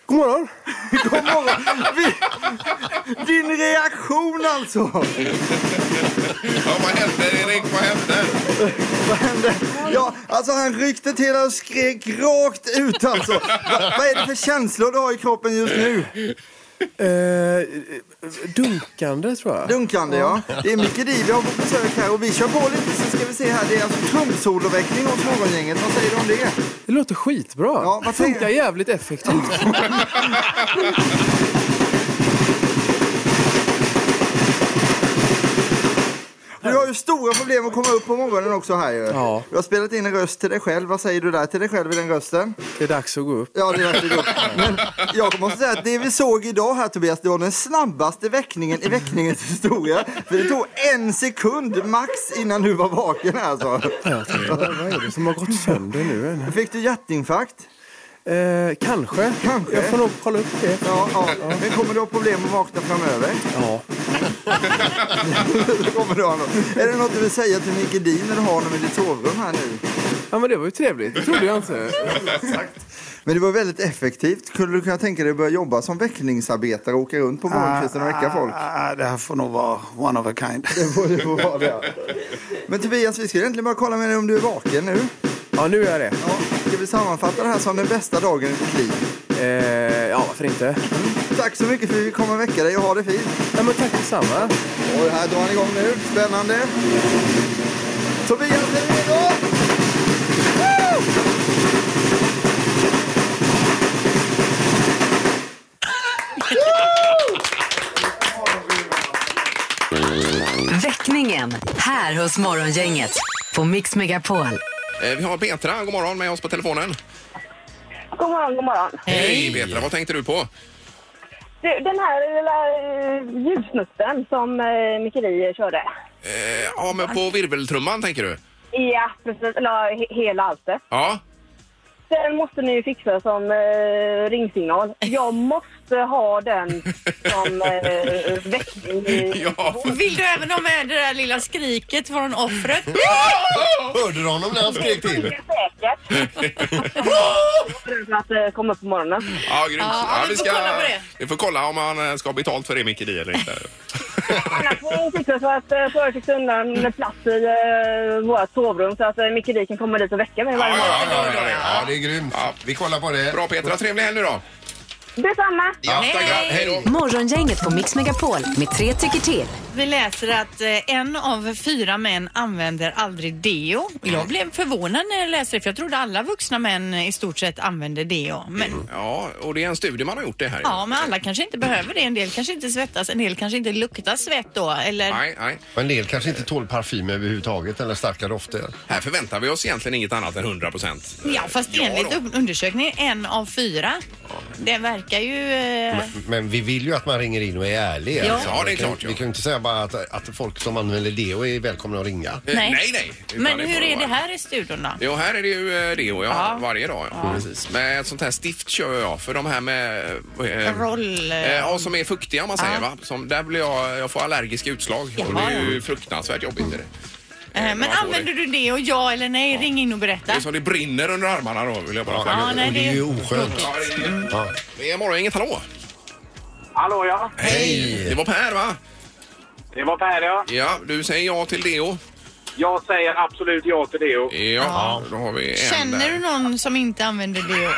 Speaker 10: morgon! God morgon! Vi, din reaktion alltså!
Speaker 1: Ja, vad hände Erik? Vad hände?
Speaker 10: Vad hände? Ja, alltså han ryckte till och skrek rakt ut alltså. Va, vad är det för känslor du har i kroppen just nu?
Speaker 11: dunkande tror jag.
Speaker 10: Dunkande ja. Det är Micke Di vi har på besök här och vi kör på lite så ska vi se här. Det är alltså trumsoloväckning hos Morgongänget. Vad säger du om det?
Speaker 11: Det låter skitbra.
Speaker 10: Ja, vad säger
Speaker 11: Funkar jävligt effektivt.
Speaker 10: Du har ju stora problem att komma upp på morgonen också här ju. Ja. Du har spelat in en röst till dig själv. Vad säger du där till dig själv i den rösten?
Speaker 11: Det är dags att gå upp.
Speaker 10: Ja, det är verkligen gott. Men jag måste säga att det vi såg idag här Tobias, det var den snabbaste väckningen i väckningens historia. För det tog en sekund max innan du var vaken här, alltså.
Speaker 11: Jag tänkte, Vad vad är det som har gått sönder nu? än?
Speaker 10: Fick du hjärtinfarkt?
Speaker 11: Eh, kanske.
Speaker 10: Kanske.
Speaker 11: Jag får nog kolla upp det.
Speaker 10: Ja, ja. Men kommer du ha problem att vakna framöver?
Speaker 11: Ja.
Speaker 10: Det kommer du ha något. Är det något du vill säga till Micke Di när du har honom i ditt sovrum här nu?
Speaker 11: ja, men det var ju trevligt. Det trodde jag inte.
Speaker 10: Men det var väldigt effektivt. Skulle du kunna tänka dig att börja jobba som väckningsarbetare och åka runt på morgonkvisten och väcka folk?
Speaker 9: Ah, det här får nog vara one of a kind.
Speaker 10: Det får det får vara det. Men Tobias, vi skulle egentligen bara kolla med dig om du är vaken nu.
Speaker 11: Ja, nu är jag det.
Speaker 10: Ja, ska vi sammanfatta det här som den bästa dagen i ditt liv?
Speaker 11: Eh, ja, varför inte?
Speaker 10: Tack så mycket för att vi kommer och väcka dig och ha det fint.
Speaker 11: Ja, men tack detsamma.
Speaker 10: Och här drar han igång nu. Spännande. Tobias, är du redo? Woo!
Speaker 4: Väckningen här hos Morgongänget på Mix Megapol.
Speaker 1: Eh, Vi har Petra, god morgon, med oss på telefonen.
Speaker 12: God morgon, god morgon.
Speaker 1: Hej Petra, vad tänkte du på?
Speaker 12: Du, den här lilla eh, ljudsnutten som eh, Mikkeli körde.
Speaker 1: Eh, Ja, men på virveltrumman tänker du?
Speaker 12: Ja, precis. Eller he, hela alltet.
Speaker 1: Ja.
Speaker 12: Den måste ni ju fixa som eh, ringsignal. Jag måste ha den som eh, väckning. i-
Speaker 3: Vill du även ha med det där lilla skriket från offret?
Speaker 2: Hörde du honom när han skrek till?
Speaker 12: För att eh, komma upp på morgonen.
Speaker 1: Ja, grymt.
Speaker 12: Ja, vi får kolla på det.
Speaker 1: Vi får kolla om han eh, ska ha betalt för det Micke Di eller inte.
Speaker 12: Annars får ni fixa så att eh, företaget fick undan plats i eh, vårt sovrum så att eh, Mikkeli kan komma dit och väcka mig varje morgon.
Speaker 2: Ja, det är grymt. Vi kollar på det.
Speaker 1: Bra Petra, trevlig helg nu då.
Speaker 12: Detsamma!
Speaker 1: Ja, tack. Hej då.
Speaker 4: Morgongänget på Mix Megapol med tre tycker till.
Speaker 3: Vi läser att eh, en av fyra män använder aldrig deo. Och Jag blev förvånad när jag läste det för jag trodde alla vuxna män i stort sett använder deo.
Speaker 1: Mm.
Speaker 3: Men
Speaker 1: Ja, och det är en studie man har gjort det här.
Speaker 3: ja, men alla kanske inte behöver det. En del kanske inte svettas, en del kanske inte luktar svett då. Eller
Speaker 1: Nej, nej.
Speaker 2: Men en del kanske inte tål parfym överhuvudtaget eller starka dofter.
Speaker 1: Här förväntar vi oss egentligen inget annat än 100 procent.
Speaker 3: Ja, fast enligt un- undersökningen en av fyra. Det verkar ju... eh,
Speaker 2: Men vi vill ju att man ringer in och är ärlig. Alltså,
Speaker 3: Ja.
Speaker 1: Ja, det är
Speaker 2: Vi kan-
Speaker 1: klart, ja.
Speaker 2: Vi kan ju inte säga bara att, att folk som använder det och är välkomna att ringa.
Speaker 3: Nej.
Speaker 1: nej, nej. Utan
Speaker 3: Men
Speaker 1: det
Speaker 3: hur
Speaker 1: får
Speaker 3: är
Speaker 1: vara.
Speaker 3: det här i studion då?
Speaker 1: Jo, här är det ju eh, det och jag
Speaker 3: Ja.
Speaker 1: varje dag. Ja. Precis. Men ett sånt här stift kör jag för de här med... eh,
Speaker 3: Roll...
Speaker 1: Eh, ja, som är fuktiga om man säger va. Som, där blir jag, jag får allergiska utslag och det är ju fruktansvärt jobbigt. Är det.
Speaker 3: Eh,
Speaker 1: man
Speaker 3: Men
Speaker 1: får
Speaker 3: använder du det och ja eller nej? Ring in och berätta.
Speaker 1: det är som det brinner under armarna då vill jag bara flagga
Speaker 3: Ja,
Speaker 1: upp.
Speaker 3: nej,
Speaker 2: Det är ju
Speaker 3: det...
Speaker 2: oskönt.
Speaker 1: Ja, det är-
Speaker 2: Ja.
Speaker 1: Det är morgon, inget hallå!
Speaker 13: Hallå ja,
Speaker 1: Hej! Det var Per va?
Speaker 13: det var Per ja.
Speaker 1: Ja, du säger ja till Deo.
Speaker 13: Jag säger absolut ja till Deo.
Speaker 1: Ja, då har vi en
Speaker 3: Känner
Speaker 1: där.
Speaker 3: du någon som inte använder deo?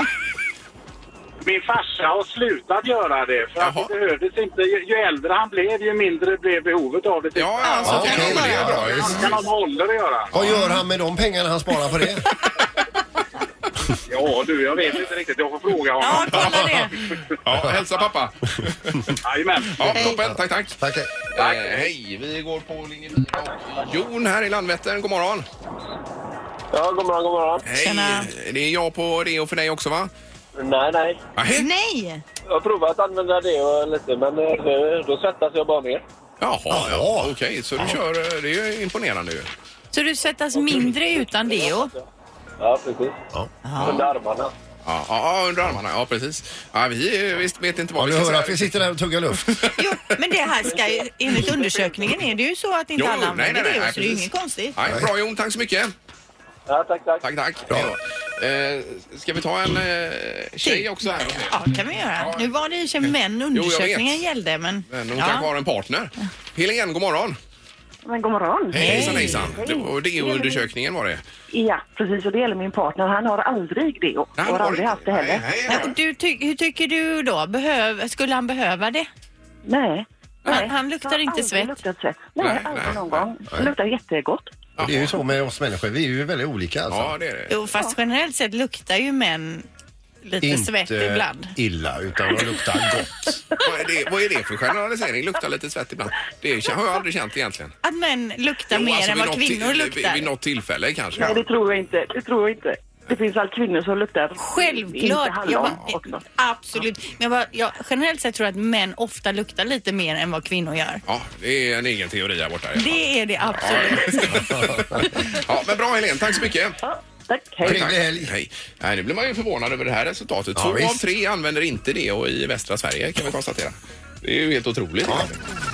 Speaker 13: Min farsa har slutat göra det för att det behövdes inte. Ju, ju äldre han blev ju mindre blev behovet av det. tyckte
Speaker 1: Ja,
Speaker 13: han.
Speaker 1: ja, så
Speaker 2: Ja,
Speaker 1: kan
Speaker 2: okej,
Speaker 1: det
Speaker 2: ja,
Speaker 1: är bra.
Speaker 2: ja,
Speaker 1: just-
Speaker 13: Kan han håller att göra?
Speaker 2: Vad gör han med de pengarna han sparar på det?
Speaker 13: Ja du, jag vet inte riktigt. Jag får fråga
Speaker 3: Ja,
Speaker 13: honom.
Speaker 3: kolla det.
Speaker 1: Ja, hälsa pappa!
Speaker 13: Jajamän.
Speaker 1: Ja, toppen, tack tack!
Speaker 2: Tack.
Speaker 1: Eh, hej, vi går på linje 4. Jon här i Landvetter, god morgon!
Speaker 14: Ja, god morgon, god morgon.
Speaker 1: Hej!
Speaker 3: Tjena.
Speaker 1: Det är jag på Deo för dig också va?
Speaker 14: Nej, nej.
Speaker 1: Nej.
Speaker 3: Nej!
Speaker 14: Jag har provat att använda det och lite, men eh, nu- då svettas jag bara mer.
Speaker 1: Jaha, ja. okej. Så du kör, eh, det är ju imponerande ju.
Speaker 3: Så du svettas mindre utan deo?
Speaker 14: Ja, precis.
Speaker 2: Ja.
Speaker 14: Under armarna.
Speaker 1: Ja, ja, ja, under armarna, ja precis. Ja, vi eh, visst vet inte
Speaker 2: Ja,
Speaker 1: vad vi
Speaker 2: du
Speaker 1: ska
Speaker 2: hör
Speaker 1: säga.
Speaker 2: att vi sitter där och tuggar luft.
Speaker 3: Jo, men det här ska ju... Enligt undersökningen är det ju så att inte
Speaker 1: Jo,
Speaker 3: alla
Speaker 1: nej, nej,
Speaker 3: använder
Speaker 1: nej,
Speaker 3: deo,
Speaker 1: nej,
Speaker 3: så det är ju
Speaker 1: precis.
Speaker 3: inget konstigt.
Speaker 1: Nej, bra Jon, tack så mycket.
Speaker 14: Ja, tack, tack.
Speaker 1: Tack, tack.
Speaker 2: Bra.
Speaker 1: Hej då. Eh, ska vi ta en eh, tjej också här?
Speaker 3: Ja, kan vi göra. Nu var det i och för sig män
Speaker 1: jag
Speaker 3: undersökningen
Speaker 1: vet.
Speaker 3: gällde, men...
Speaker 1: Men hon
Speaker 3: Ja.
Speaker 1: kanske har en partner. Helen, god morgon.
Speaker 15: Men god morgon.
Speaker 1: Hej, hejsan, hejsan.
Speaker 15: Hej.
Speaker 1: Det var DO-undersökningen var det.
Speaker 15: Ja, precis. Och det gäller min partner. Han har aldrig det och
Speaker 1: Nej,
Speaker 15: har
Speaker 1: har
Speaker 15: aldrig haft det heller.
Speaker 3: Men, och du, ty hur tycker du då? Behöv skulle han behöva det?
Speaker 15: Nej.
Speaker 3: Han, han luktar inte svett.
Speaker 15: Nej, aldrig någon gång. Det luktar jättegott.
Speaker 2: Och Det är ju så med oss människor, vi är ju väldigt olika alltså.
Speaker 1: Ja, det är det.
Speaker 3: Jo, fast generellt sett luktar ju män lite
Speaker 2: Inte
Speaker 3: svett ibland.
Speaker 2: illa, utan de luktar gott.
Speaker 1: Vad är det, vad är det för generalisering? Luktar lite svett ibland. Det har jag aldrig känt egentligen.
Speaker 3: Att män luktar
Speaker 1: Jo,
Speaker 3: mer
Speaker 1: alltså,
Speaker 3: än
Speaker 1: vid
Speaker 3: vad
Speaker 1: något
Speaker 3: kvinnor
Speaker 1: till-
Speaker 3: luktar.
Speaker 1: Vid, vid något tillfälle kanske.
Speaker 15: Nej, det tror jag inte. Det tror jag inte. Det finns allt kvinnor som luktar. Inte
Speaker 3: Självklart. Jag
Speaker 15: hallon
Speaker 3: bara,
Speaker 15: också.
Speaker 3: absolut. Men jag, bara, jag generellt sett tror jag att män ofta luktar lite mer än vad kvinnor gör.
Speaker 1: Ja, det är en egen teori här borta.
Speaker 3: Det är det absolut.
Speaker 1: Ja, men bra Helene, tack så mycket.
Speaker 15: Tack, hej.
Speaker 1: Trevlig helg. Hej. Nej, nu blir man ju förvånad över det här resultatet.
Speaker 2: Ja,
Speaker 1: Två av
Speaker 2: visst.
Speaker 1: tre använder inte det och i västra Sverige kan vi konstatera. Det är ju helt otroligt.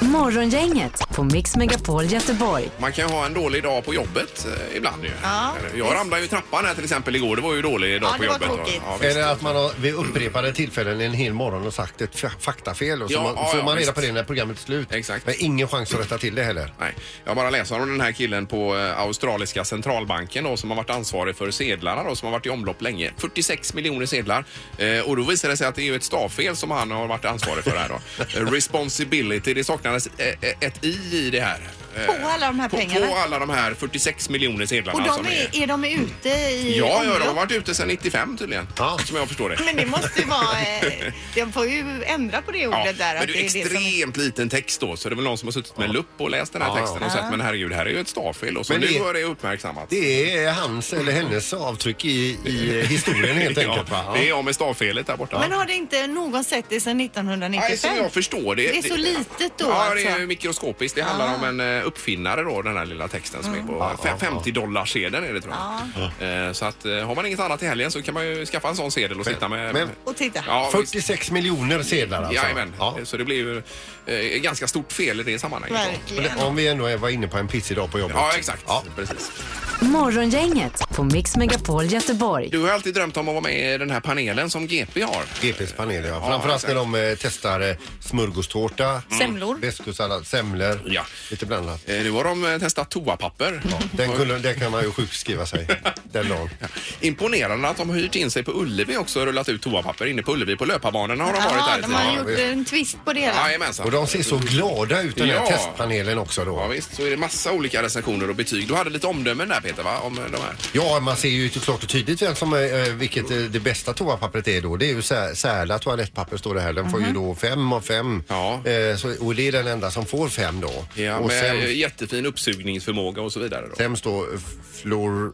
Speaker 4: Morgongänget på Mix Megapol Göteborg.
Speaker 1: Man kan ju ha en dålig dag på jobbet eh, ibland ju.
Speaker 4: Ja.
Speaker 1: Jag ramlade ju i trappan här till exempel igår. Det var ju en dålig dag
Speaker 4: Ja,
Speaker 1: på
Speaker 4: det var
Speaker 1: jobbet.
Speaker 4: tråkigt.
Speaker 1: Ja, visst.
Speaker 2: Eller att man har vid upprepade tillfällen en hel morgon har sagt ett fa- faktafel och så
Speaker 1: Ja,
Speaker 2: man,
Speaker 1: ja,
Speaker 2: får
Speaker 1: ja,
Speaker 2: man reda
Speaker 1: visst.
Speaker 2: på det när programmet är slut.
Speaker 1: Exakt.
Speaker 2: Men ingen chans att rätta till det heller.
Speaker 1: Nej, jag bara läser om den här killen på eh, australiska centralbanken då, som har varit ansvarig för sedlarna då, som har varit i omlopp länge. 46 miljoner sedlar. Eh, och då visar det sig att det är ju ett stavfel som han har varit ansvarig för här då. Eh, Responsibility, det saknades eh, eh, ett i i det här. Eh,
Speaker 3: På alla de här
Speaker 1: på,
Speaker 3: pengarna.
Speaker 1: på alla de här 46 miljoner sedlarna
Speaker 3: Och de
Speaker 1: som
Speaker 3: är, är de ute i
Speaker 1: Ja, ja,
Speaker 3: omlopp?
Speaker 1: de har varit ute sedan 95 tydligen. Som jag förstår det.
Speaker 3: Men det måste ju vara... eh, De får ju ändra på det ordet
Speaker 1: Ja,
Speaker 3: där.
Speaker 1: men det är
Speaker 3: det
Speaker 1: extremt liten text då, så det är väl någon som har suttit med lupp och läst den här
Speaker 2: Ja, ja.
Speaker 1: texten och sett men herregud, här är ju ett stavfel. Och så
Speaker 2: Men
Speaker 1: nu
Speaker 2: det-
Speaker 1: har det uppmärksammat.
Speaker 2: Det är hans eller hennes avtryck i, i historien helt enkelt. Va?
Speaker 1: ja, det är jag med stavfelet där borta.
Speaker 3: Men har det inte någon sett det sedan 1995?
Speaker 1: Nej, som jag förstår det.
Speaker 3: Det är så litet då
Speaker 1: Ja,
Speaker 3: alltså.
Speaker 1: det är mikroskopiskt. Det handlar
Speaker 3: Ah.
Speaker 1: om en eh, uppfinnare då, den här lilla texten som är på
Speaker 2: Ja, ja,
Speaker 1: fe- 50 dollar sedeln är det tror
Speaker 3: Ah.
Speaker 1: jag. Eh, Så att eh, har man inget annat i helgen så kan man ju skaffa en sån sedel och sitta med.
Speaker 2: men-
Speaker 3: Och titta.
Speaker 1: Ja, visst.
Speaker 2: 46 miljoner sedlar alltså.
Speaker 1: Jajamän, så det blir ju eh, ett ganska stort fel i det sammanhanget. då.
Speaker 2: Men Om vi ändå är- var inne på en pissig dag på jobbet.
Speaker 1: Ja, exakt. Precis.
Speaker 4: Morgongänget på Mix Megapol Göteborg.
Speaker 1: Du har alltid drömt om att vara med i den här panelen som GP har.
Speaker 2: GPs panel, ja. Framförallt när de eh, testar eh, smörgåstårta,
Speaker 3: Semlor.
Speaker 2: väskosallad, semlor, lite blandat.
Speaker 1: Nu har de eh, testat toapapper.
Speaker 2: Den, kunde, den kan man ju sjukskriva sig den dagen.
Speaker 1: Imponerande att de har hyrt in sig på Ullevi också och rullat ut toapapper inne på Ullevi. På löparbanorna har de varit där.
Speaker 3: Ja,
Speaker 1: i
Speaker 3: de
Speaker 1: tiden.
Speaker 3: har gjort en twist på det. där.
Speaker 1: Jajamensan.
Speaker 2: Och de ser så glada ut den här
Speaker 1: Ja.
Speaker 2: testpanelen också då.
Speaker 1: Ja, visst, så är det massa olika recensioner och betyg. Du hade lite omdömen där Peter, va? Om eh, de här.
Speaker 2: Ja, man ser ju klart och tydligt vem som, eh, vilket eh, det bästa toapappret är då. Det är ju Sä- Särla toalettpapper står det här. Den får ju då fem av fem. Eh, så, och det är den enda som får fem då.
Speaker 1: Ja,
Speaker 2: och
Speaker 1: med eh,
Speaker 2: sen,
Speaker 1: jättefin uppsugningsförmåga och så vidare. Då.
Speaker 2: sen står eh, flor,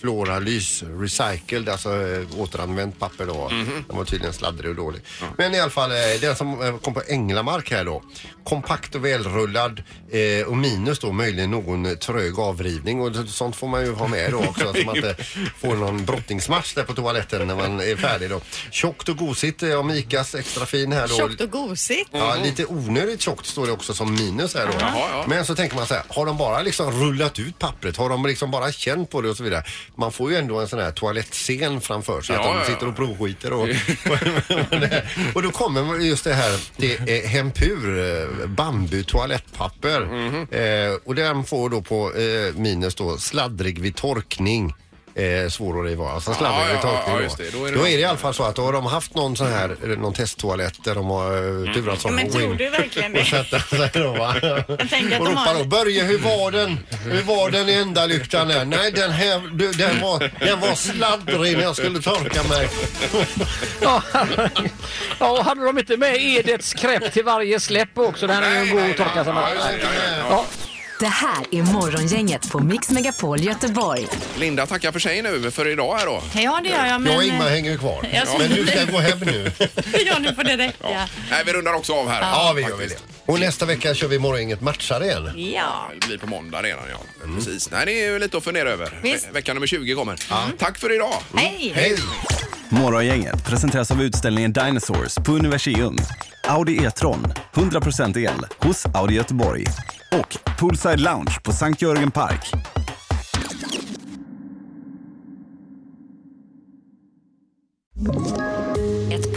Speaker 2: Floralys Recycled, alltså eh, återanvänt papper då. Den var tydligen sladdrig och dålig. Men i alla fall, eh, den som eh, kom på Änglamark här då. Kompakt och välrullad eh, och minus då möjligen någon trög avrivning och sånt får man ju ha med då också. så man inte får någon brottningsmatch där på toaletten när man är färdig då. Tjockt och gosigt eh, om Icas extra fin här då.
Speaker 3: Tjockt och gosigt.
Speaker 2: Ja, lite onödigt tjockt står det också som minus här då.
Speaker 1: Mm. Jaha, ja.
Speaker 2: Men så tänker man så här, har de bara liksom rullat ut pappret? Har de liksom bara känt på det och så vidare? Man får ju ändå en sån här toalettscen framför sig,
Speaker 1: Ja,
Speaker 2: att
Speaker 1: ja,
Speaker 2: de
Speaker 1: ja.
Speaker 2: sitter och provskiter och, och då kommer just det här, det är Hempur, eh, bambu toalettpapper.
Speaker 1: Mhm.
Speaker 2: Eh, och den får då på eh, minus då sladdrig vid torkning. Eh, svår att riva. Alltså sladdrig
Speaker 1: Ja, ja,
Speaker 2: vid torkning.
Speaker 1: ja,
Speaker 2: då.
Speaker 1: just det. Då
Speaker 2: Då
Speaker 1: är
Speaker 2: är
Speaker 1: det
Speaker 2: det,
Speaker 1: någon-
Speaker 2: i alla fall så att då har de haft någon sån här, eh, någon testtoalett där de har eh, turats om
Speaker 3: Mm. Men
Speaker 2: att gå
Speaker 3: tror
Speaker 2: in
Speaker 3: du verkligen
Speaker 2: och
Speaker 3: det?
Speaker 2: sätta sig då va.
Speaker 3: Jag tänker att
Speaker 2: Och
Speaker 3: de
Speaker 2: ropar
Speaker 3: har...
Speaker 2: då Börje hur var den? Hur var den i ändalyktan där? Nej den här, du, den var, den var sladdrig när jag skulle torka mig.
Speaker 5: Ja, och hade de inte med Edets kräpp till varje släpp också? Det här är ju en god torka. som- Ja.
Speaker 4: Det här är Morgongänget på Mix Megapol Göteborg.
Speaker 1: Linda tackar för sig nu för idag här då.
Speaker 3: Ja, det gör jag. Men... eh,
Speaker 2: ju kvar.
Speaker 3: Jag skulle- Men du ska
Speaker 2: gå hem nu.
Speaker 3: Ja, nu får det räcka.
Speaker 1: Nej, vi rundar också av här.
Speaker 2: Ja vi gör väl det. Och nästa vecka kör vi Morgongänget matchar igen.
Speaker 3: Ja.
Speaker 1: Det blir på måndag redan ja.
Speaker 2: Mm.
Speaker 1: Precis. Nej, det är ju lite att fundera över.
Speaker 3: Visst.
Speaker 1: Ve- Vecka nummer 20 kommer. Tack för idag.
Speaker 3: Hej!
Speaker 16: Morgongänget presenteras av utställningen Dinosaurs på Universium. Audi E-tron, 100% el, hos Audi Göteborg. Och Poolside Lounge på Sankt Jörgen Park.
Speaker 17: Ett